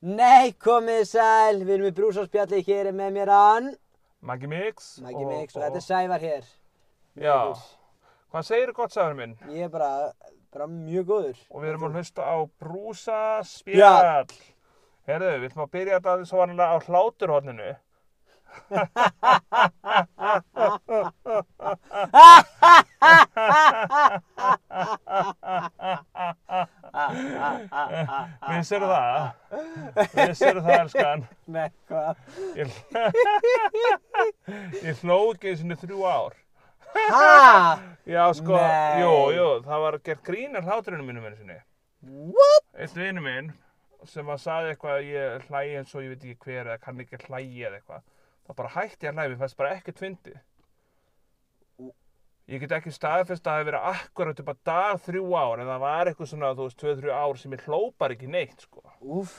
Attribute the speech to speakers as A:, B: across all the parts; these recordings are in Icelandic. A: Nei, komið þið sæl, við erum í brúsáspjalli, hér er með mér Ann,
B: Maggi Mix
A: Maggi Mix og þetta er Sævar hér.
B: Já, hvað segir gott sagður minn?
A: Ég er bara, bara mjög góður.
B: Og við erum að hlusta á Brúsa Spjall Herðu, við ætlum að byrja þetta aðeins og vanlega á hláturhorninu Ah,
A: Ah,
B: Vissir það? Vissir það, elskan?
A: Nei, sko- hvað?
B: Ég, ég hló ekki einu sinni þrjú ár
A: Ha?
B: Já, sko,
A: Nei.
B: jú, jú, það var gert grín að hláturinu mínum einu sinni.
A: What?
B: Eitt vinur minn sem að saði eitthvað að ég hlægi eins og ég veit ekki hver eða kann ekki hlægi eða eitthvað. Þá bara hætti ég að hlægi, mér fannst bara ekkert fyndi. Ég get ekki staðfest að það hefði verið akkurat upp að dag þrjú ár en það var eitthvað svona, þú veist, tvö, þrjú ár sem ég hlópar ekki neitt, sko.
A: Úf,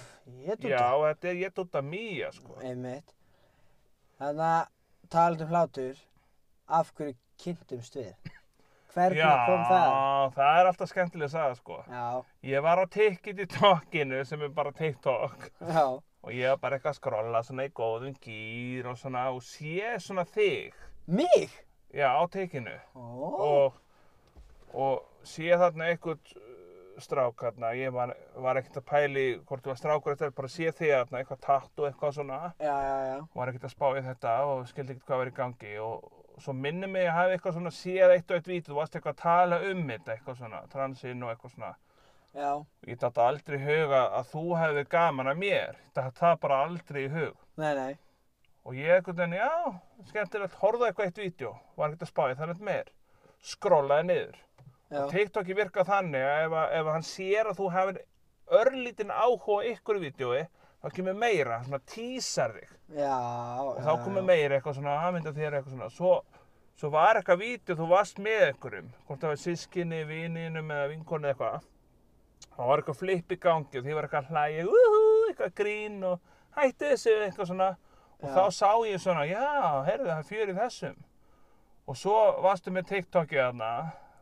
A: ég tótt
B: Já, þetta er ég dótt að mýja, sko.
A: Einmitt. Þannig að talað um hlátur, af hverju kynntumst við? Hvernig
B: Já,
A: kom það?
B: það er alltaf skemmtilega að sagða, sko.
A: Já,
B: Ég var á tikkit í tokkinu sem er bara TikTok.
A: já,
B: og ég var bara eitthvað að skrolla svona í góðum gýr og svona og sé svona þig
A: mig?
B: já, á tekinu
A: Ó,
B: og, og sé þarna einhvern uh, strák þarna ég var, var ekkert að pæli hvort þú var strákur eftir bara sé þig þarna eitthvað tatt og eitthvað svona
A: já, já, já,
B: var ekkert að spá í þetta og skildi ekkert hvað var í gangi og svo minni mig að hafa eitthvað svona séð eitt og eitt vítið, þú varst eitthvað að tala um þetta eitthvað svona, transinn og eitthvað svona
A: já.
B: ég datt aldrei í hug að, að þú hefði gaman að mér þetta það bara aldrei í hug
A: Nei, nei,
B: Og ég einhvern veginn, já, skemmtilegt, horfðu eitthvað eitt vídeo, var ekkert að spá í þannig meir, skrollaði niður.
A: já,
B: TikTok virka þannig að ef, að- ef hann sér að þú hefur örlítinn áhuga á ykkur vídjói, þá kemur meira, hann svona tísar þig.
A: já.
B: Og þá komur meira eitthvað svona, aðmynda þér eitthvað svona. Svo, svo var eitthvað vídeo, þú varst með einhverjum, hvort það var sískinni, vininum eða vinkonu eða eitthvað. Það var eitthvað flip í gangi og því var eitthvað hlægi, úhú, eitthvað grín og hætti þessu eitthvað svona. Og
A: Já.
B: þá sá ég svona, já, heyrðu það er fjör í þessum. Og svo varstu með TikTokið þarna,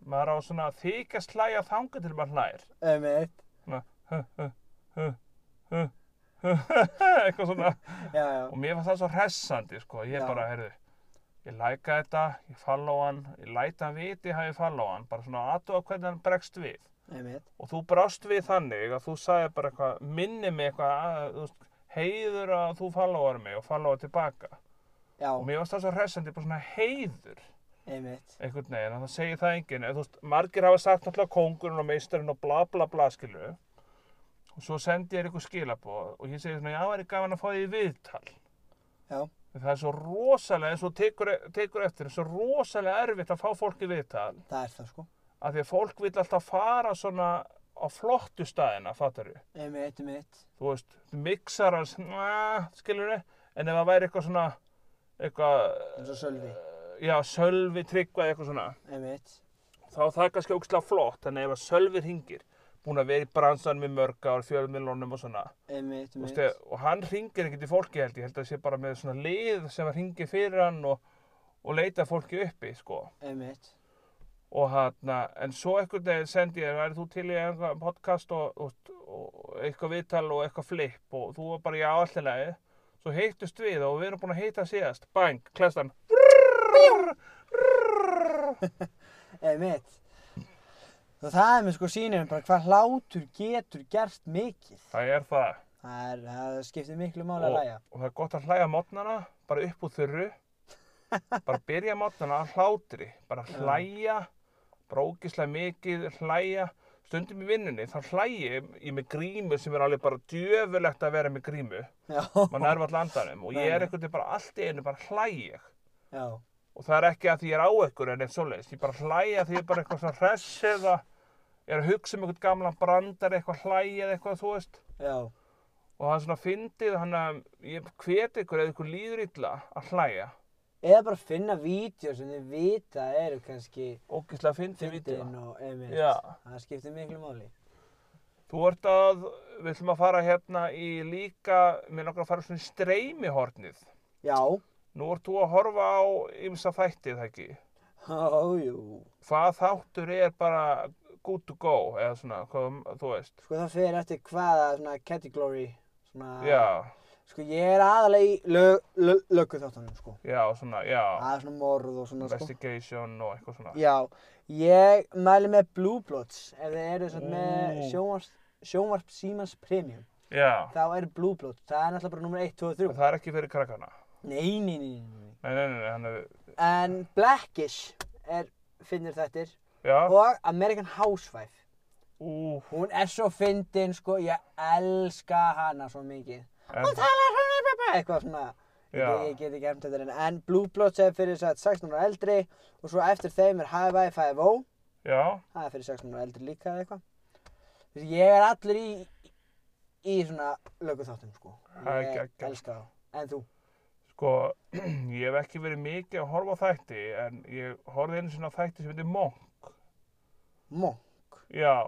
B: maður á svona að þykjast hlæja þangu til maður hlær.
A: Einmitt,
B: Svona, huh, huh, huh, huh, huh, eitthvað svona.
A: já, já,
B: Og mér fannst það svo hressandi, sko. Ég
A: Já.
B: bara, heyrðu, ég læka þetta, ég follow hann, ég læta hann viti að ég follow hann. Bara svona aðtúa hvernig hann bregst við.
A: einmitt.
B: Og þú brást við þannig að þú sagði bara eitthvað, minni mig eitthvað, að, þú veist, heiður að þú followar mig og followa tilbaka.
A: Já,
B: Og mér fannst það svo hressandi, bara svona heiður,
A: einmitt,
B: einhvern veginn, að það segir það enginn. En þú veist, margir hafa sagt náttúrulega kóngurinn og meistarinn og bla bla bla, skilu. Og svo sendi ég þér eitthvað skilaboð og ég segi svona, já, er ég gaman að fá því viðtal.
A: já,
B: En Það er svo rosalega, eins og tekur, tekur eftir, svo rosalega erfitt að fá fólk í viðtal
A: það er það sko.
B: af því að fólk vil alltaf fara svona á flottu staðina, fattar við.
A: Einmitt, einmitt,
B: Þú veist, mixarar, svona, skilur við, en ef það væri eitthvað svona, eitthvað,
A: eins og Sölvi,
B: já, sölvi, tryggvað, eitthvað svona,
A: einmitt.
B: þá er það kannski ógislega flott, en ef að sölvi hringir, búin að vera í bransan með mörg ár, fjölmilónum og svona,
A: Einmitt,
B: Þú
A: einmitt.
B: veist, eh. eða- og hann ringir ekkert í fólki held ég, held að það sé bara með svona lið sem að ringi fyrir hann og, og leita fólki uppi, sko.
A: Einmitt.
B: Og hann, en svo einhvern veginn sendi ég, væri þú til í einhver podcast og, og, og eitthvað viðtal og eitthvað flip og þú var bara já allir lagi. Svo heittust við og við erum búin að heita síðast, bang, klestan.
A: Einmitt. Og það er mér sko sýnir bara hvað hlátur getur gert mikið.
B: Það er það.
A: Það, er, það skiptir miklu máli að
B: Og,
A: læja.
B: og það er gott að hlæja mótnana, bara upp úr þurru. bara byrja mótnana að hlátri, bara hlæja, brókislega mikið, hlæja. Stundum í vinnunni, þá hlæja ég ég með grímu sem er alveg bara djöfulegt að vera með grímu.
A: Já,
B: Man er alltaf andanum og ég
A: Nei, nei.
B: er einhvern veginn bara allt í einu bara hlæja.
A: já,
B: Og það er ekki að því ég er á ykkur en eitthvað svoleiðis. Ég bara hlæja því ég er bara eitthvað svona hress eða er að hugsa um einhvern gamlan brandar, eitthvað hlæja eða eitthvað, þú veist
A: já,
B: og það er svona fyndið hann að ég hveti ykkur eða ykkur líður illa að hlæja
A: eða bara finna vídeo sem þið vita eru kannski
B: ógislega fyndið vídeo
A: fyndin og einmitt.
B: Já.
A: Það skiptir miklu máli.
B: þú ert að, við ætlum að fara hérna í líka, mér langar að fara svona í streymihornið
A: Já,
B: nú ert þú að horfa á ymsa þættið ekki
A: ójú.
B: hvað þáttur er bara good to go eða svona, hvað, þú veist
A: Sko það fer eftir hvaða svona category, svona,
B: já,
A: sko ég er aðalega í lög, lög, löggu þáttunum sko
B: já, svona, já,
A: það er svona morð og svona Ah, sko
B: investigation og eitthvað svona.
A: já, ég mæli með Blue Bloods ef þið eru svona með
B: Ú.
A: sjónvarp, sjónvarp Símans Premium
B: Já,
A: þá er Blue Bloods, það er náttúrulega bara nummer 1, 2 og 3
B: það er ekki fyrir krakkana.
A: nei, nei, nei, nei, nei.
B: Nei, nei, nei, nei, hann er,
A: en Blackish er finnir þettir
B: já,
A: og American Housewife
B: ú,
A: Hún er svo fyndin, sko, ég elska hana svo mikið.
B: en,
A: Hún talar svona pappa, eitthvað svona. Ég,
B: Já.
A: ég get ekki eftir þetta. En Blue Bloods er fyrir sagt, 16 ára eldri og svo eftir þeim er High Five Five O.
B: já,
A: Það er fyrir 16 ára eldri líka eða eitthvað. Þú veist, Ég er allur í, í svona löguþáttum, sko.
B: Það er
A: Ég
B: geggjað.
A: elska þá. En þú?
B: sko, ég hef ekki verið mikið að horfa á þætti, en ég horfði einu sinna þætti sem heitir Monk.
A: Mó.
B: Já,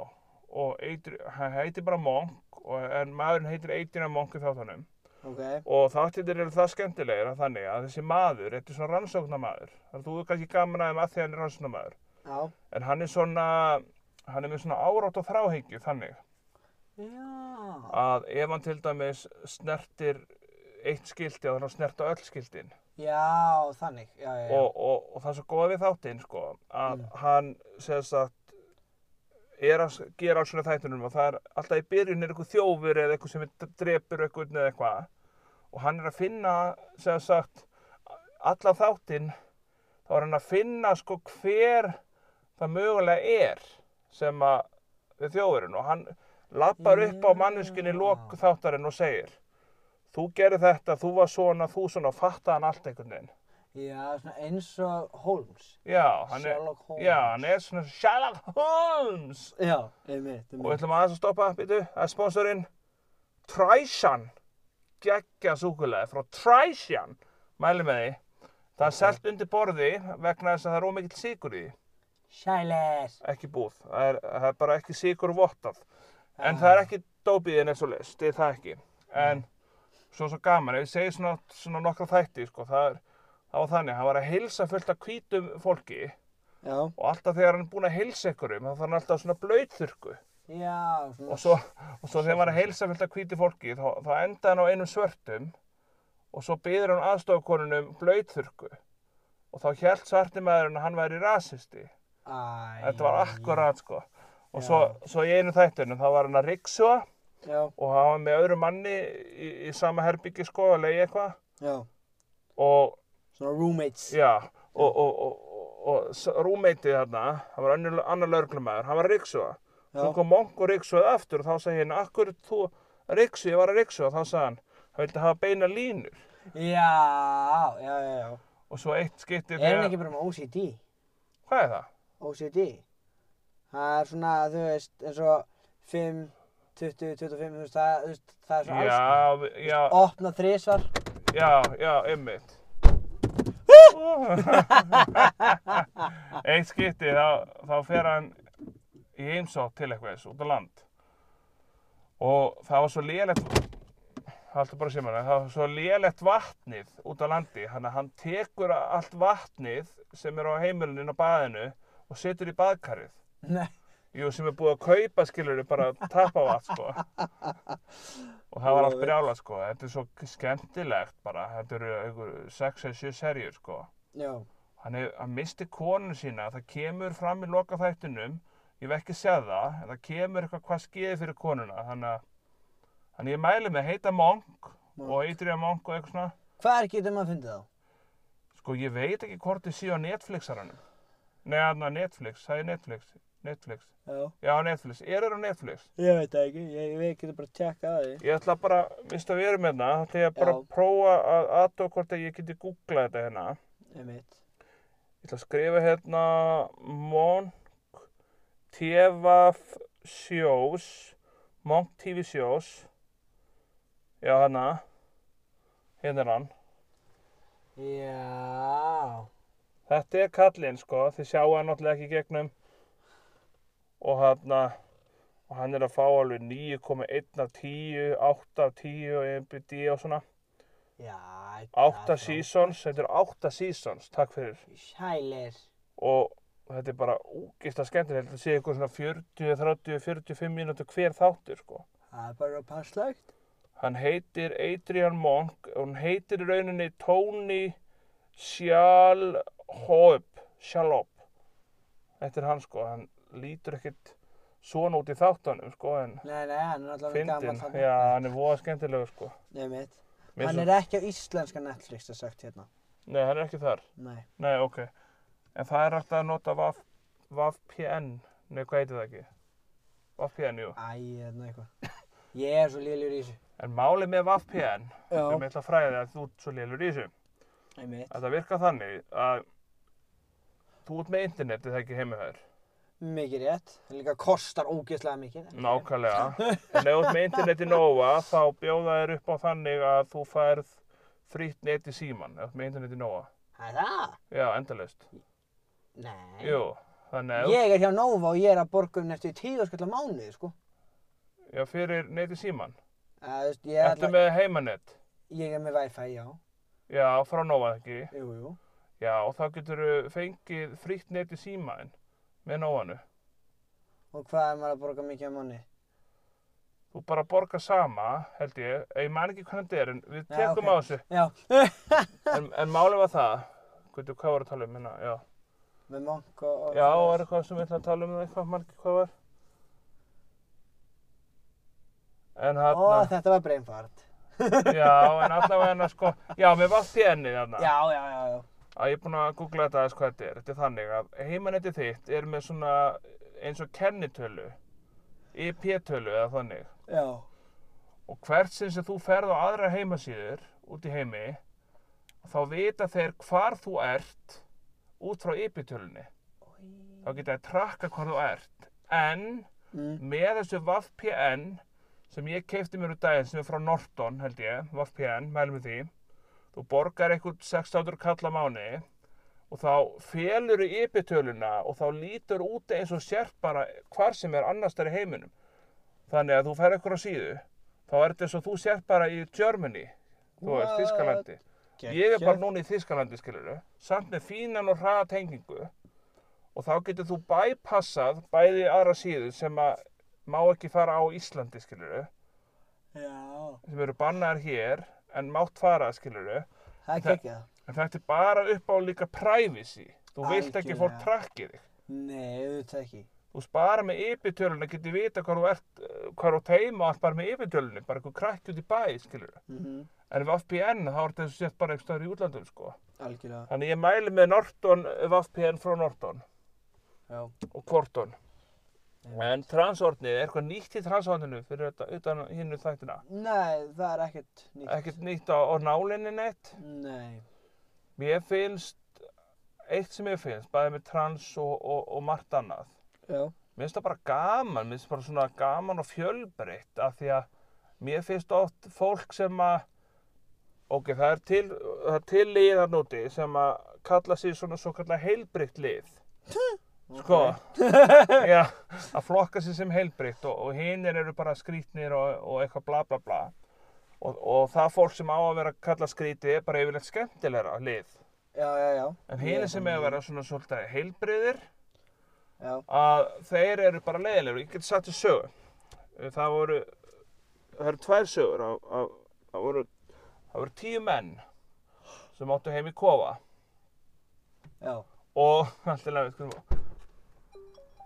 B: og eitir, hann heitir bara Monk, og, en maðurinn heitir Eitirna Monk í þáttunum.
A: Ok.
B: Og þáttirnir eru það skemmtilegir að þannig að þessi maður, þetta er svona rannsóknamaður. Það þú er kannski gaman aðeim að því að hann er rannsóknamaður.
A: Já.
B: En hann er svona, hann er með svona árátt og þráhyggju þannig
A: Já.
B: að ef hann til dæmis snertir eitt skildi þá þarf hann að snerta öll skildin.
A: Já, þannig. Já, já, já.
B: og, og, og það er svo góð við þáttinn sko, að
A: Mm.
B: hann sem sagt er að s- gera alls svona þættunum og það er alltaf í byrjun er eitthvað þjófur eða eitthvað sem er d- drepur eitthvað eða eitthvað og hann er að finna sem sagt alla þáttinn þá er hann að finna sko hver það mögulega er sem að við þjófurinn og hann lappar upp á
A: Já.
B: manneskinni lok þáttarinn og segir þú gerir þetta, þú var svona, þú svona og fatta hann allt einhvern veginn
A: Já, svona eins og Holmes.
B: Já, hann er,
A: Sherlock Holmes.
B: já, hann er svona Sherlock Holmes
A: Já, einmitt,
B: og við
A: einmitt.
B: ætlum aðeins að stoppa, býtu, það er sponsorinn Trishan geggja súkulega frá Trishan mæli með því það er selt undir borði vegna þess að það er ómikill sigur í því,
A: Sælir.
B: ekki búð það er, það er bara ekki sigur vottað en
A: Ah. Mm.
B: það er ekki dópiðin eins og list, þið það ekki en svo svo gaman, ef ég segi svona, svona nokkra þætti, sko, það er það var þannig, hann var að heilsa fullt af hvítum fólki
A: Já.
B: og alltaf þegar hann er búinn að heilsa ykkurum þá þarf hann alltaf svona blöytþurku
A: Já, svona.
B: og svo, og svo þegar hann var að heilsa fullt af hvíti fólki þá, þá enda hann á einum svörtum og svo byður hann aðstofakonunum blöytþurku og þá hjælt svarti maðurinn að hann væri rasisti
A: Æ,
B: þetta var akkurat sko
A: Já.
B: og svo, svo í einu þættunum þá var hann að ryggsua
A: Já,
B: og hann var með öðru manni í, í sama herbyggi sko að leiði eitthvað
A: já.
B: og
A: Svona roommates.
B: Já, og, og, og, og, og rúmeitið þarna, það var önnur, annar lögreglumæður, hann var að ryksuga. Svo
A: Já.
B: kom Monk og ryksugaði aftur og þá sagði hérna, akkur þú ryksugi, ég var að ryksuga, þá sagði hann, hann vildi hafa beina línur.
A: Já, já, já, já.
B: Og svo eitt skipti
A: Er hann ekki bara með OCD?
B: hvað er það?
A: OCD? Það er svona, þú veist, eins og 5, 20, 25, þú veist, það, þú veist, það er svo alls. konar.
B: Já, vi- já,
A: Opna þrisvar.
B: já, já, einmitt. eitt skipti þá, þá fer hann í heimsótt til eitthvað þessu, út á land. Og það var svo lélegt, haldur bara sem hann, það var svo lélegt vatnið út á landi. Þannig að hann tekur allt vatnið sem er á heimilinu á baðinu og setur í baðkarið.
A: Nei.
B: Jú, sem er búið að kaupa skilur bara tappa vatn, sko. Og það var allt brjála, sko. Þetta er svo skemmtilegt bara. Þetta eru einhver 6-7 serjur, sko
A: Já.
B: hann, hef, hann misti konun sína, það kemur fram í loka þættinum, ég veit ekki séð það, en það kemur eitthvað hvað skeiði fyrir konuna, þannig að þannig ég mæli með heita Monk,
A: Monk.
B: og Adria Monk og eitthvað svona,
A: Hvar getur maður að fyndi þá?
B: sko ég veit ekki hvort þið séu á Netflixaranum, nei hann á Netflix, það er Netflix, Netflix,
A: Já.
B: já Netflix, er það á Netflix,
A: Ég veit það ekki, ég, ég getur bara að tjekka að því.
B: ég ætla bara, minnst að við erum hérna, þá ætla ég bara
A: Já.
B: að prófa að aðtók hvort að ég geti googlað þetta hérna,
A: Einmitt.
B: Ég ætla að skrifa hérna Monk TV Sjós Monk TV Sjós Já, hérna Hérna er hann
A: Já.
B: Þetta er kallinn, sko Þið sjáu hann náttúrulega ekki í gegnum Og hérna Og hann er að fá alveg 9,1 af 10 8 af E 10 og MBD og svona
A: Já.
B: 8 seasons, þetta er 8 seasons Takk fyrir
A: Sælir.
B: og þetta er bara úgisla skemmtilegt að sé eitthvað svona 40, 30, 45 mínútur hver þáttur sko.
A: Það er bara passlegt.
B: Hann heitir Adrian Monk og hún heitir í rauninni Tony Shalhoub. Shalhoub. Þetta er hann sko, hann lítur ekkert svona út í þáttanum sko, en
A: Nei, nei, hann er náttúrulega
B: fyndin,
A: gammal þarna.
B: já, hann er voða skemmtilegur sko.
A: Nei, mitt.
B: Mér
A: Hann
B: svo-
A: er ekki á íslenska Netflix að sagt hérna.
B: Nei, hann er ekki þar.
A: Nei.
B: Nei, ok. En það er hægt að nota VAV, VAVPN, nei, hvað heitir það ekki? VAVPN, jú.
A: Æ, hérna eitthvað. Ég er svo lélur í þessu.
B: En málið með VAVPN, sem ég
A: Já.
B: ætla að fræða þig að þú ert svo lélur í þessu,
A: Nei, mitt.
B: að það virka þannig að þú ert með internetið það ekki heima hjá þér.
A: Mikið rétt. Það líka kostar ógeðslega mikið.
B: Nákvæmlega. En ef þú ert með interneti nóa þá bjóða þér upp á þannig að þú færð frýtt net í síman ef þú ert með interneti nóa.
A: Það er það?
B: Já, endalaust.
A: Nei.
B: Jú, þannig að
A: Ég er hjá Nova og ég er að borga um næstu tíu skall á mánuði, sko.
B: já, fyrir net í síman.
A: Það, þú veist, ég er,
B: Ertu
A: alltaf,
B: með heimanett?
A: ég er með Wi-Fi, já.
B: Já, frá nóa ekki.
A: Jú, jú.
B: Já, og þá getur þú fengið frýtt net í síman með nóanu.
A: Og hvað er maður að borga mikið á mánuði?
B: Þú bara borgar sama, held ég, ég man ekki hvernig þetta er, en við
A: Já,
B: tekum
A: ok.
B: á þessu.
A: Já.
B: En, en málið var það, gutur, hvað var að tala um hérna, já.
A: með monk og... og
B: Já, var eitthvað sem við ætlaði að tala um það eitthvað, margir hvað var? En
A: Ó,
B: hérna,
A: þetta var brainfart.
B: já, en allavega hérna sko, já, mér var þjennið
A: Já,
B: þarna.
A: já, já, já.
B: Að ég er búinn að googla þetta aðeins hvað þetta er. Þetta er þannig að heimanetti þitt er með svona eins og kennitölu, IP-tölu eða þannig.
A: Já.
B: Og hvert sinn sem þú ferð á aðra heimasíður út í heimi, þá vita þeir hvar þú ert út frá IP-tölunni. Þá geta þeir trakka hvar þú ert. En
A: Mm.
B: með þessu VPN sem ég keipti mér úr daginn sem er frá Norton held ég, VPN, mælum við því þú borgar eitthvað 600 kall á mánuði og þá félur í IP-töluna og þá lítur út eins og sért bara hvar sem er annars þar í heiminum þannig að þú fer eitthvað á síðu þá er þetta eins og þú sért bara í Germany þú veist,
A: What?
B: Þískalandi ég er bara núna í Þískalandi skilur samt með fínan og hraða tengingu og þá getur þú bypassað bæði aðra síðu sem að má ekki fara á Íslandi skilur
A: Já.
B: sem eru bannar hér en mátt fara skilur en
A: Það er geggjað.
B: þetta er bara upp á líka privacy þú vilt ekki
A: Algjörlega.
B: fólk trakkið þig
A: Nei, auðvitað ekki.
B: þú spara með IP-tölunni getur vita hvað þú ert eh, hvar þú teima og allt bara með IP-tölunni bara eitthvað krakki út í bæ skilur
A: Mm -hmm.
B: en ef VPN þá er þetta sett bara eitthvað í útlandum sko
A: Algjörlega.
B: þannig ég mæli með Norton eh, VPN frá Norton
A: Já.
B: og Korton. En transornið, er eitthvað nýtt í transorninu fyrir þetta utan hinnu þættina?
A: Nei, það er ekkert nýtt.
B: Ekkert nýtt á, á nálinni neitt?
A: Nei.
B: Mér finnst, eitt sem ég finnst, bæði með trans og, og, og margt annað.
A: Já.
B: Mér finnst það bara gaman, mér finnst bara svona gaman og fjölbreytt af því að mér finnst oft fólk sem að, ok, það er til, það er til liðan úti sem að kalla sig svona svo kallar heilbreytt lið. Sko, já, að flokka sig sem heilbreytt og, og hinir eru bara skrítnir og, og eitthvað bla bla bla. Og, og það fólk sem á að vera að kalla skrítið er bara yfirleitt skemmtilegra lið.
A: Já, já, já.
B: En
A: Ég er
B: hinir sem
A: bara
B: er
A: með-
B: að vera svona svolítið heilbreyðir,
A: Já.
B: að þeir eru bara leiðilegur, ég geti sagt þér sögu. Eh, Það voru, það eru tvær sögur, af, af, það, voru, það voru tíu menn sem áttu heim í kofa
A: Já.
B: og alltaf leið, skulum við,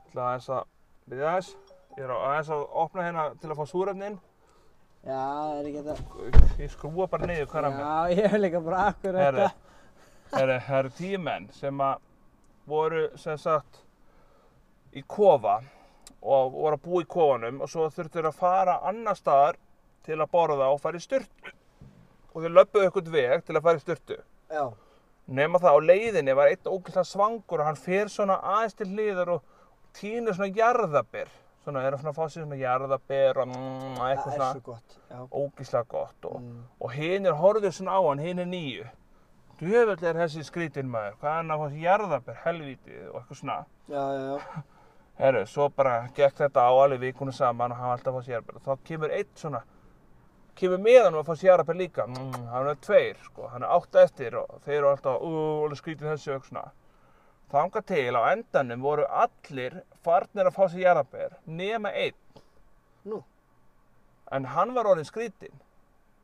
B: ætla aðeins að, byrja aðeins, ég er á- aðeins að opna hérna til að fá súrefnin,
A: Já, það er ekki þetta.
B: ég skrúa bara niður hvað er að mér.
A: Já, ég er líka bara akkur
B: Herri, herri, það eru tíu menn sem að voru sem sagt í kofa og voru að búa í kofanum og svo þurftu þeir að fara annar staðar til að borða og fara í styrtu og þeir löppuðu eitthvað veg til að fara í styrtu
A: Já.
B: nema það á leiðinni var einn ógeðslega svangur og hann fer svona aðeins til hliðar og týnir svona jarðaber svona er hann svona að fá sér svona jarðaber og mm,
A: Það er
B: eitthvað
A: svo
B: svona
A: gott. Já.
B: ógeðslega gott og
A: Mm.
B: og hinn er horfður svona á hann, hinn er nýju. Djöfull er þessi skrítinn maður, hvað er hann að fá þessi jarðaber, helvítið og eitthvað svona.
A: Já, já, já.
B: Herru, svo bara gekk þetta á alveg vikunum saman og hann var alltaf að fá sér jarðaber. Og Þá kemur einn svona, kemur með hann að fá sér jarðaber líka, mm, hann er tveir, sko, hann er átta eftir og þeir eru alltaf, ú, alveg skrítinn þessi og eitthvað svona. Þangað til á endanum voru allir farnir að fá sér jarðaber, nema einn,
A: Nú.
B: en hann var orðin skrítinn.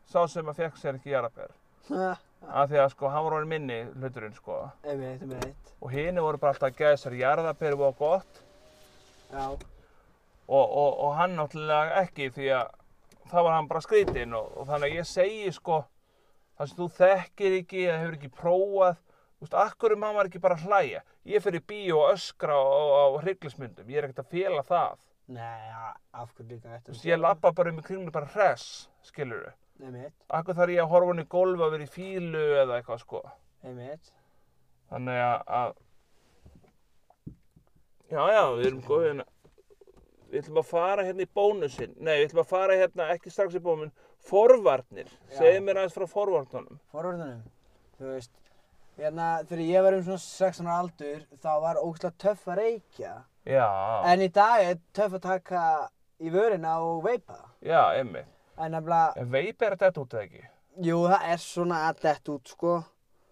B: sá sem að fekk sér ekki jarðabær
A: Ha,
B: af því að sko, hann var orðin minni hluturinn sko
A: einmitt, einmitt.
B: og hini voru bara alltaf að geða sér jarðabær og gott
A: Já,
B: og, og, og hann náttúrulega ekki því að það var hann bara skrítinn og, og þannig að ég segi sko það sem þú þekkir ekki eða hefur ekki prófað þú veist, akkur um hann var ekki bara að hlæja ég fer í bíó og öskra á, á, á hryglismyndum, ég er ekkert að fela það
A: nei, a- af hverju líka
B: þú
A: eftir
B: veist, ég lappa bara um í kringlu bara hress skilur þau,
A: Einmitt,
B: akkur þarf ég að horfa hann í gólf að vera í fílu eða eitthvað sko
A: einmitt.
B: þannig að, að já já, við erum góðið hérna við ætlum að fara hérna í bónusinn nei, við ætlum að fara hérna, ekki strax í bónusinn forvarnir,
A: Já.
B: segðu mér aðeins frá forvarnunum
A: Forvörðunum, þú veist, hérna, þegar ég var um svona 16 ára aldur, þá var ógæslega töff að reykja.
B: já,
A: En í dag er töff að taka í vörina og veipa.
B: já, emmi
A: En nefnilega,
B: en veip er þetta út eða ekki
A: jú, það er svona að dett út, sko.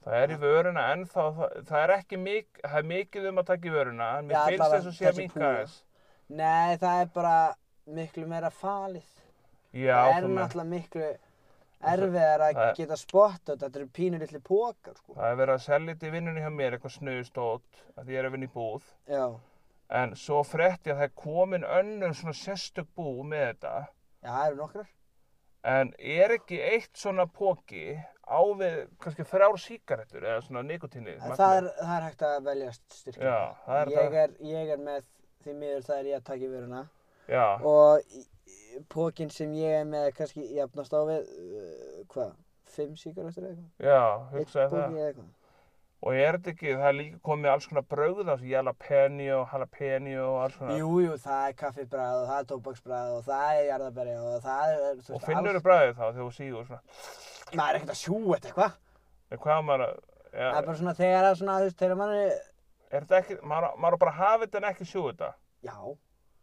B: það er í vöruna en þá, það, það er ekki mik það er mikið um að taka í vöruna en mér
A: Já,
B: finnst
A: allavega
B: þess að sé að
A: þessi
B: minka
A: púða.
B: þess
A: Nei, það er bara miklu meira falið.
B: já,
A: það er
B: þú meinar.
A: náttúrulega miklu erfiðar að
B: það er-
A: geta spotta þetta. Þetta eru pínur litli pókar, sko.
B: það er verið að selja þetta í vinnunni hjá mér eitthvað snuðstótt að ég er að vinna í búð
A: Já,
B: En svo frétti ég að það er komin önnur svona sérstök bú með þetta.
A: já, það eru nokkrar.
B: En er ekki eitt svona póki á við kannski þrjár síkaretur eða svona nikotinnið?
A: En Það er, það er hægt að velja styrkja.
B: Já, það er
A: ég
B: það.
A: er, ég er með, því miður það er ég að taka í vörina.
B: Já,
A: Og í- í- pókinn sem ég er með er kannski jafnast á við, uh, hvað, fimm síkaröttur eða eitthvað?
B: já,
A: Einn
B: hugsaði
A: póki
B: það.
A: eða eitthvað.
B: Og er þetta ekki, það er líka komið alls konar brögð á þessu jalapeno, jalapeno og alls konar.
A: Jú, jú, það er kaffibræð og það er tóbaksbræð og það er jarðabæri og það er, þú
B: Og finnur þú bröðið þá þegar þú sígur svona.
A: maður er ekkert að sjú þetta eitthvað.
B: En hvað á maður að, ja,
A: Það er bara svona þegar að svona, þú veist, þegar maður er,
B: er þetta ekki, maður, á- maður á bara að hafa þetta en ekki sjúa þetta.
A: já,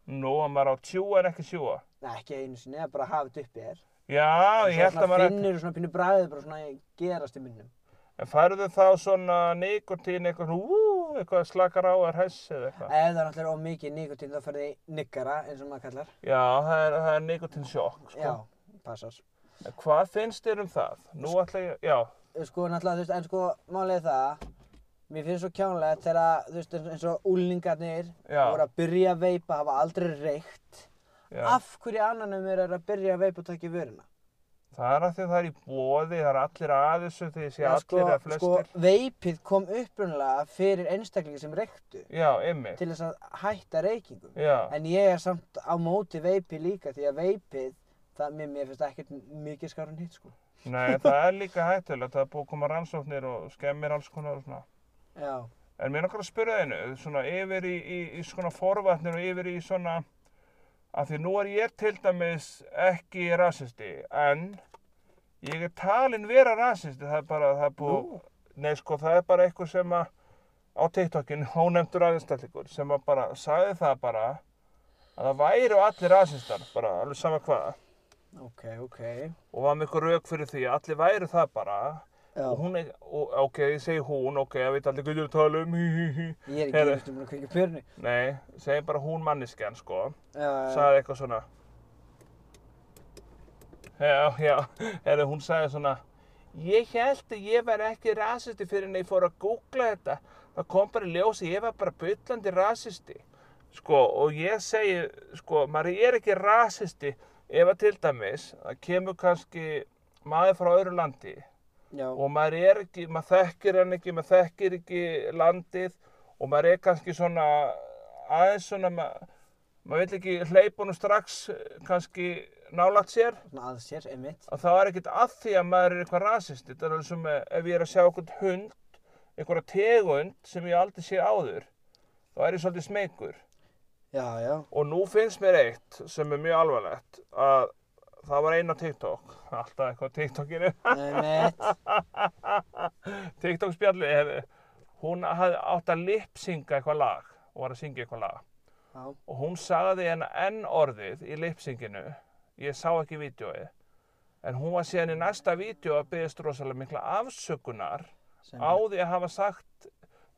B: Nú, maður á að tjúa en ekki sjúa.
A: neða ekki einu sinni, það er bara að hafa þetta uppi þér.
B: Já, ég held að maður ekki.
A: Finnur svona pínu bræðið bara svona gerast í minnum.
B: En færðu þá svona nikotín, eitthvað svona, ú, eitthvað slakar á er hess eða eitthvað?
A: Ef það er náttúrulega of mikið nikotín þá ferði niggara eins og maður kallar.
B: Já, það er, það er nikotín sjokk, sko.
A: Já, passar.
B: En hvað finnst þér um það? Nú ætla ég, já,
A: Sko náttúrulega þú veist, en sko málið er það, mér finnst svo kjánlega þegar þú veist eins- eins og úlingarnir
B: Já.
A: voru að byrja að veipa, hafa aldrei reykt.
B: já.
A: Af hverju annanum er að byrja að veipa og taka í vörina?
B: Það er að því að það er í bóði, það er allir að þessu því sé
A: Já,
B: allir
A: sko,
B: eða
A: sko,
B: flestir.
A: veipið kom upprunlega fyrir einstaklingi sem reyktu
B: Já, ymmið,
A: til þess að hætta reykingum.
B: já,
A: En ég er samt á móti veipi líka því að veipið, það mér, mér finnst ekkert mikið skár en hitt sko.
B: nei, það er líka hættulegt, það er búið að koma rannsóknir og skemmir alls konar og svona.
A: Já.
B: En mér nokkar að spyrja þeinu, svona yfir í, í, í svona forvarnir og yfir í svona, af því nú er ég til dæmis ekki rasisti, en ég er talin vera rasisti, það er bara, það er búið,
A: Nú?
B: nei sko, það er bara eitthvað sem að, á TikTokin, ónefndur aðeinstallingur, sem að bara, sagði það bara, að það væru allir rasistar, bara, alveg sama hvaða,
A: Ok, ok.
B: og var með eitthvað rauk fyrir því, að allir væru það bara,
A: Já,
B: og hún er, og, ok, ég segi hún, ok, ég veit allir hvað ég er að tala um, hí, hí, hí,
A: ég er ekki
B: heyrðu.
A: eftir búin að kveika pjörni.
B: Nei, segjum bara hún manneskjan, sko.
A: Já, já,
B: Sagði eitthvað svona. Já, já, eða hún sagði svona. Ég held að ég var ekki rasisti fyrir en ég fór að googla þetta. Það kom bara í ljós að ég var bara byllandi rasisti. Sko, og ég segi, sko, maður er ekki rasisti ef að til dæmis, það kemur kannski maður frá öðru landi
A: já.
B: og maður er ekki, maður þekkir hann ekki, maður þekkir ekki landið og maður er kannski svona aðeins svona, maður, maður vil ekki hleypa honum strax eh, kannski nálat sér
A: Svona að sér, einmitt.
B: og það er ekkert að því að maður er eitthvað rasist, þetta er alveg sem eh, ef ég er að sjá einhvern hund, einhverja tegund sem ég aldrei sé áður, þá er ég svolítið smeykur.
A: Já, já.
B: Og nú finnst mér eitt sem er mjög alvarlegt að það var einn á TikTok, alltaf eitthvað á TikTokinu.
A: Einmitt.
B: TikTok spjallu er, hún hafði átt að lipsinga eitthvað lag og var að syngja eitthvað lag
A: Já,
B: og hún sagði henn enn orðið í lipsinginu ég sá ekki vídjóið en hún var síðan í næsta vídjó að byggðist rosalega mikla afsökunar
A: sem
B: á því að hafa sagt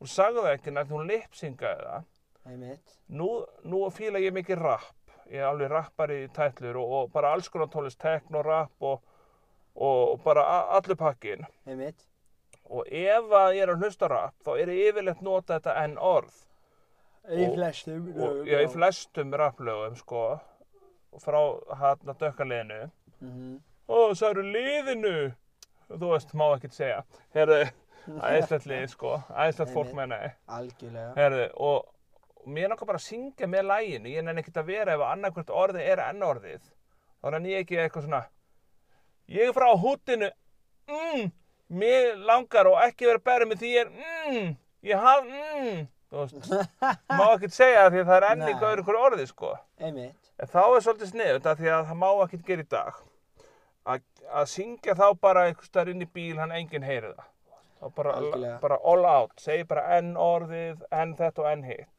B: hún sagði það ekki nætt hún lipsingaði það
A: Einmitt.
B: nú, nú fíla ég mikið rapp ég er alveg rappari í tætlur og, og bara alls konar tólist tekno, rapp og, og, og bara a- allur pakkin
A: einmitt.
B: og ef að ég er að hlusta á rap þá er ég yfirleitt nota þetta enn orð
A: Í
B: Og-
A: flestum.
B: og, já, í flestum rapplögum sko frá hann að dökkaliðinu
A: Mhm.
B: ó, það eru liðinu þú veist, má ekkert segja herðu, æðislegt lið sko æðislegt fólk
A: Einmitt.
B: meina ég
A: Mhm. Algjörlega.
B: herðu, og mér langar bara að syngja með læginu, ég nenni ekkert að vera ef annarkvært orði er enn orðið þá nenni ég ekki eitthvað svona ég er frá húttinu mm, mér langar og ekki vera berið með því ég er mm, ég haf mm, þú veist má ekkert segja það því að það er enn
A: Nei.
B: eitthvað einhver orði sko
A: Einmitt.
B: En þá er svolítið sniðut að því að það má ekkert gera í dag að, að syngja þá bara einhvers staðar inn í bíl hann enginn heyri það þá bara,
A: Algjörlega.
B: bara all out, segi bara enn orðið, enn þetta og enn hitt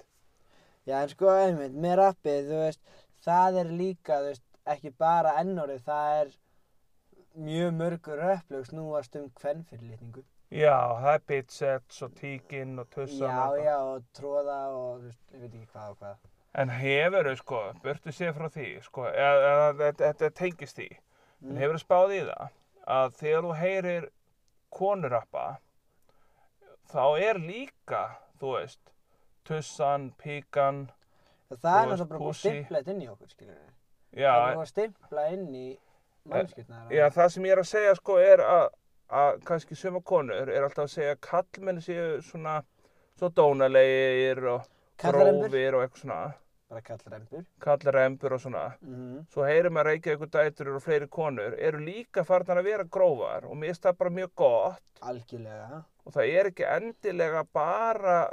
A: Já, en sko, einmitt, með rappið, þú veist, það er líka, þú veist, ekki bara ennórið, það er mjög mörgur rapplög snúast um kvennfyrirlitningu.
B: Já, það er bitsets og tíkin og tussan
A: Já,
B: og
A: já, og tróða og, þú veist, ég veit ekki hvað og hvað.
B: En hefur þau sko, burtu séð frá því sko, eða- eða þetta- þetta tengist því
A: Mm.
B: en hefur þau spáð í það að þegar þú heyrir konurappa þá er líka, þú veist tussan, píkan
A: Og það
B: Þú
A: er
B: veist,
A: náttúrulega bara búið að
B: pussy.
A: stimpla þetta inn í okkur, skiljum við.
B: Já,
A: Það er búið að stimpla inn í mannskjöldnar.
B: Já, það sem ég er að segja sko er að, að kannski sömu konur er alltaf að segja að kallmenn séu svona svo dónalegir og
A: Kallarembur.
B: grófir og eitthvað svona
A: Bara kallarembur.
B: kallarembur og svona
A: Mm
B: svo heyrum að reykja ykkur dætur og fleiri konur eru líka farnar að vera grófar og mér finnst það bara mjög gott
A: Algjörlega.
B: og það er ekki endilega bara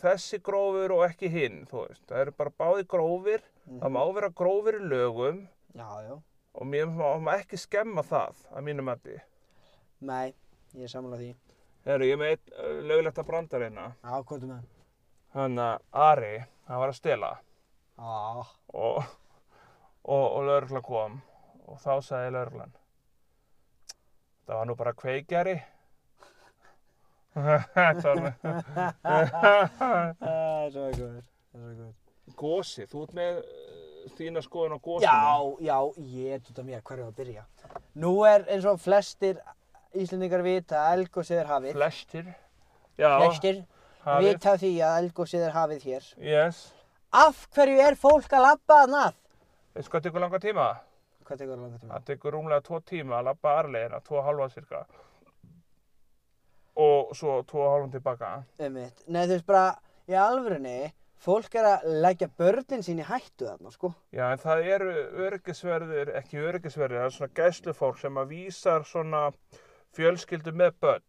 B: þessi grófur og ekki hinn þú veist, það eru bara báði grófir
A: Mhm.
B: það má vera grófir í lögum
A: Já, já.
B: og mér má má ekki skemma það að mínum að
A: Nei, ég er samanlega því.
B: Herru, ég er með einn uh, löglegt að brandar hérna.
A: Já, hvað er með?
B: Hann að Ari, hann var að stela
A: Já,
B: og, og, og lögregla kom og þá sagði lögreglan. Það var nú bara kveikjari.
A: það er svo góður. Það er svo góður.
B: Gósi, þú ert með uh, þína skoðun á gósinu.
A: Já, já, ég er þetta mér, hver er að byrja? Nú er eins og flestir Íslendingar vita að elgósið er hafið.
B: Flestir. Já,
A: Flestir
B: hafið.
A: vita því að elgósið er hafið hér.
B: Yes.
A: Af hverju er fólk að labba að nað?
B: Veistu hvað tekur langa tíma?
A: Hvað tekur það langar tíma?
B: Það tekur rúmlega tvo tíma að labba arlegina, tvo og hálfa cirka. Og svo tvo og hálfum tilbaka.
A: Einmitt. Um Nei, þú veist bara, í alvörunni, fólk er að leggja börnin sín í hættu þarna, sko.
B: Já, en það eru öryggisverðir, ekki öryggisverðir, það er svona gæslufólk sem að vísar svona fjölskyldu með börn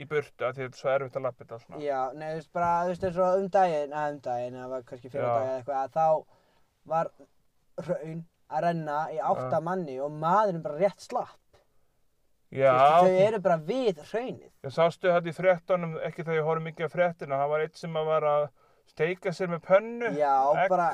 B: í burtu af því að þetta er svo erfitt að labba þetta svona.
A: Já, nei, þú veist bara, þú veist, eins og um daginn, að um daginn, það var kannski fyrir
B: Já.
A: dag eða eitthvað, að þá var raun að renna í átta manni og maðurinn bara rétt slapp. Þú veist, þau
B: Já,
A: eru bara við hraunið.
B: ég sástu þetta í fréttunum, ekki þegar ég horfði mikið á fréttina, það var eitt sem að var að steika sér með pönnu,
A: Já,
B: Egg.
A: bara,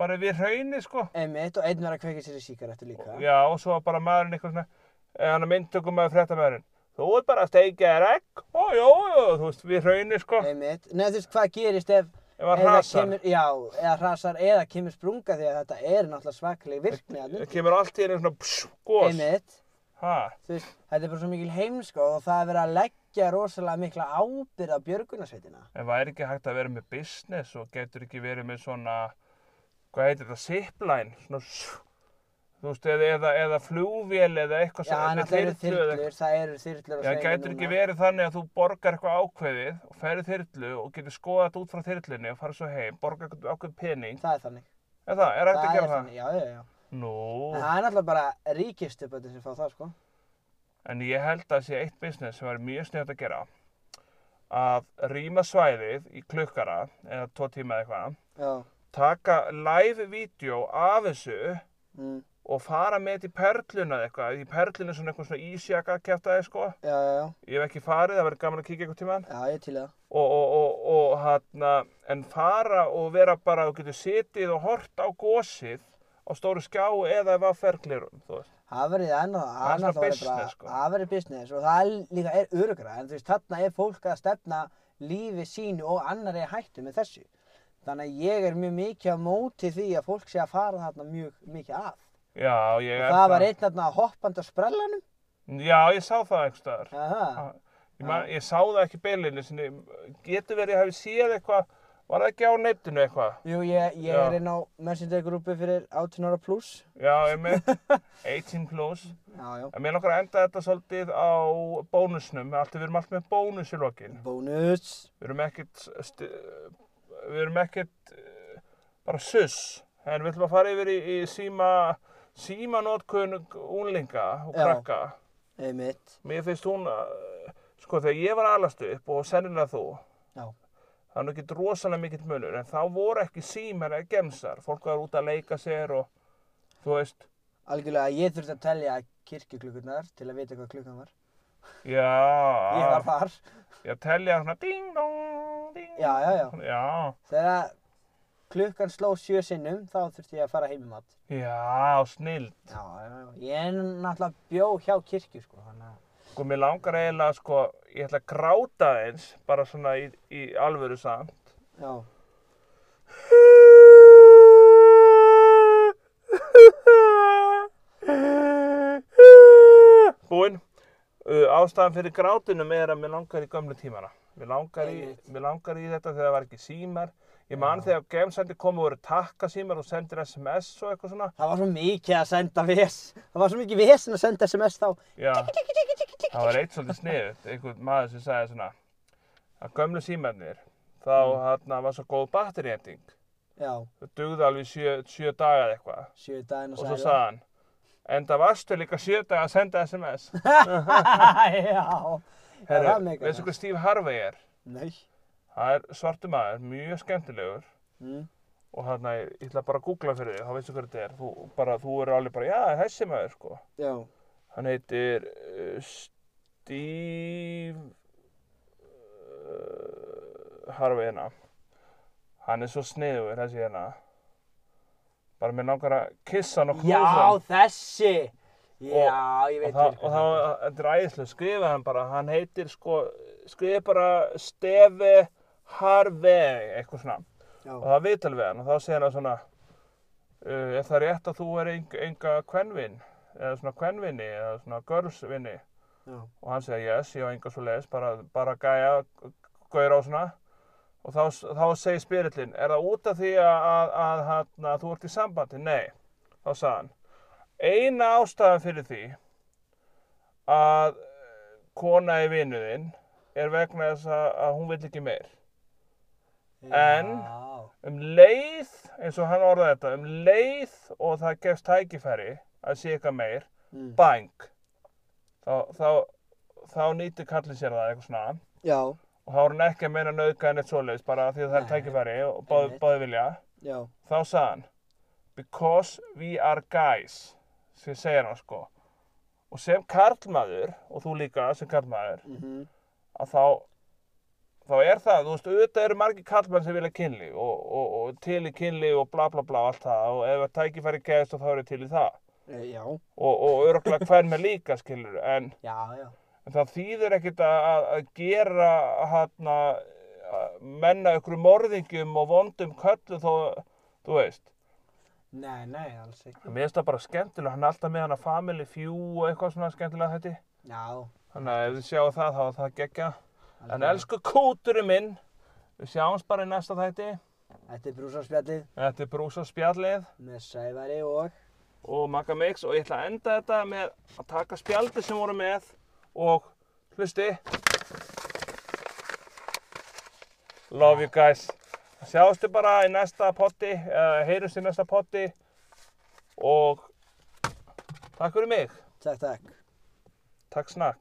B: bara við hraunni sko.
A: einmitt, og einn var að kveika sér í síkarettu líka.
B: Já, og svo var bara maðurinn eitthvað svona, eða hann að myndtökum með fréttamæðurinn. Þú ert bara að steikja þér egg, ó, jó, jó, þú veist, við hraunni sko,
A: Einmitt, nei, þú veist, hvað gerist ef,
B: ef
A: ef
B: hann
A: það
B: hrasar.
A: kemur, já, eða hrasar, eða kemur sprunga því að þetta er náttúrulega svakaleg virkni að
B: Það kemur allt í einu svona, pss, gos,
A: Einmitt.
B: ha,
A: þú veist, þetta er bara svo mikil heimsko og það er verið að leggja rosalega mikla ábyrð á björgunarsveitina.
B: En væri ekki hægt að vera með business og getur ekki verið með svona, hvað heitir þetta, zipline, svona, sjú, þú veist, eða, eða, eða flugvél eða eitthvað
A: Já, en alltaf eru
B: þyrlu eða eitthvað.
A: þyrlur, það eru þyrlur
B: Já, en getur ekki verið þannig að þú borgar eitthvað ákveðið og ferði þyrlu og getur skoðað þetta út frá þyrlunni og fara svo heim, borgar eitthvað ákveð pening.
A: Það er þannig.
B: Er það, er hægt að
A: er
B: gera það?
A: þannig, já, já, já.
B: Nú,
A: En það er alltaf bara ríkistuböndi sem fá það, sko.
B: en ég held að sé eitt business sem væri mjög snögt að gera að rýma svæðið í klukkara eða tvo tíma eða eitthvað,
A: Já.
B: taka live vídeo af þessu
A: Mm.
B: og fara með þetta í perluna eða eitthvað, í perluna er svona eitthvað svona ísjaka kæftæði sko,
A: Já, já, já.
B: ég hef ekki farið, það verður gaman að kíkja eitthvað tímaðan
A: Já, ég til í það.
B: og, og, og, og hana, en fara og vera bara og getur setið og hort á gósið á stóru skjá eða ef að ferglirum, þú veist.
A: Það verið annað,
B: Það er svona
A: annað verið bara,
B: business, sko.
A: það verið business og það er líka er örugra, en þú veist, þarna er fólk að stefna lífi sínu og annar er hættu með þessu. Þannig að ég er mjög mikið á móti því að fólk sé að fara þarna mjög mikið að.
B: Já, ég
A: það var einn þarna hoppandi á sprellanum
B: Já, ég sá það einhvers staðar.
A: Aha,
B: Ha, Ég, man, ég sá það ekki beilinni sinni. Getur verið að ég hafi séð eitthvað, var það ekki á neittinu eitthvað?
A: jú, ég, ég
B: Já.
A: er inn á messenger-grúpi fyrir 18 ára pluss.
B: Já, ég með 18 plus.
A: Já, já.
B: En mér langar að enda þetta svolítið á bónusnum. Alltaf við erum allt með bónus í lokin.
A: Bónus.
B: Við erum ekkert, stu, við erum ekkert eh, bara suss. En við ætlum að fara yfir í, í síma, símanótkun úlinga og
A: Já.
B: krakka.
A: Einmitt.
B: Mér finnst hún, eh, sko þegar ég var alast upp og sennilega þú,
A: Já.
B: það er nú ekki rosalega mikill munur, en þá voru ekki símar eða gemsar. Fólk var út að leika sér og, þú veist,
A: Algjörlega, ég þurfti að telja kirkjuklukkurnar til að vita hvað klukkan var.
B: já, Ah.
A: Ég var þar.
B: ég telja svona ding dong, ding.
A: Já, já, já.
B: Já,
A: Þegar klukkan sló sjö sinnum, þá þurfti ég að fara heim í mat.
B: já, snill.
A: Já, já, já. Ég er náttúrulega bjó hjá kirkju, sko. Þannig að,
B: Sko, mér langar eiginlega, sko, ég ætla að gráta eins, bara svona í, í alvöru samt.
A: já.
B: Búinn. Uh, ástæðan fyrir grátinum er að mér langar í gömlu tímana. Mér langar í,
A: Einmitt.
B: mér langar í þetta þegar það var ekki símar. Ég man þegar gemsendir komu og voru takka símar og sendir SMS og eitthvað svona.
A: Það var svo mikið að senda ves. Það var svo mikið vesen að senda SMS þá.
B: Já, það var eitt svolítið sniðut, einhvern maður sem sagði svona að gömlu símennir, þá hérna var svo góð batterjending,
A: Já,
B: það dugði alveg í sjö, sjö daga eða eitthvað
A: sjö daginn
B: og
A: og
B: svo sagði hann, en það varstu líka sjö daga að senda SMS.
A: sagði. já.
B: Herru,
A: það meikar
B: veistu
A: sens.
B: hvað Steve Harvey er?
A: Nei.
B: Það er svartu maður, mjög skemmtilegur
A: Mm.
B: og hérna, ég ég ætla bara að googla fyrir þig, þá veistu hvað þetta er, þú, bara, þú eru alveg bara, já, þessi maður, sko.
A: Já.
B: Hann heitir uh, Steve uh, Harvey hérna. Hann er svo sniður þessi hérna. Bara mér langar að kissa hann og knúsa
A: Já,
B: hann.
A: þessi. Já, ég
B: Og
A: veit
B: það,
A: hver
B: og
A: hvað
B: það,
A: heitir.
B: þetta er æðislega, skrifa hann bara, hann heitir sko, skrifa bara Stefi Harvey, eitthvað svona.
A: Já.
B: Og það er viðtal við hann og þá segir hann svona, uh, er það rétt að þú er enga, enga kvenvin, eða svona kvenvinni, eða svona görsvinni?
A: Já.
B: og hann segir yes, ég á enga svo leiðis, bara, bara gæja, gauðra og svona og þá, þá segir spirillin, er það út af því að, að, að, að, að þú ert í sambandi? Nei, þá sagði hann eina ástæðan fyrir því að eh, kona í vinuðinn er vegna þess að, að hún vil ekki meir En-
A: Já.
B: um leið, eins og hann orðaði þetta um leið og það gefst tækifæri að sé eitthvað meir
A: Mm.
B: bang þá, þá, þá nýtir kallið sér það eitthvað svona
A: Já,
B: og þá er hann ekki að meina nauðga en eitt svoleiðis bara af því að það er
A: Nei.
B: tækifæri og báði,
A: Einmitt.
B: báði vilja
A: já.
B: þá sagði hann because we are guys sem segir hann sko og sem karlmaður og þú líka sem karlmaður
A: Mm
B: að þá þá er það, þú veist, auðvitað eru margir karlmenn sem vilja kynli og, og, og til í kynli og bla bla bla og allt það og ef að tækifæri gefst þá eru til í það
A: Eh, Já,
B: og, og örgulega hvern með líka skilur en
A: já, já.
B: En það þýðir ekkert að, að- að gera hana, menna ykkur morðingum og vondum köllu þó, þú veist.
A: Nei, nei, alls ekki.
B: Mér finnst það bara skemmtilega, hann er alltaf með hana Family Few og eitthvað svona skemmtilega þetta.
A: Já.
B: Þannig að ef þið sjáu það þá er það geggja. En
A: algjörlega.
B: elsku kúturinn minn, við sjáumst bara í næsta þætti.
A: Þetta er brúsarspjallið
B: Þetta er Brúsa spjallið
A: með Sævari og...
B: og Magga Mix og ég ætla að enda þetta með að taka spjaldið sem voru með og hlusti. Love you guys. Sjáumstu bara í næsta potti, uh, heyrumst í næsta potti og takk fyrir mig.
A: Takk, takk.
B: Takk snakk.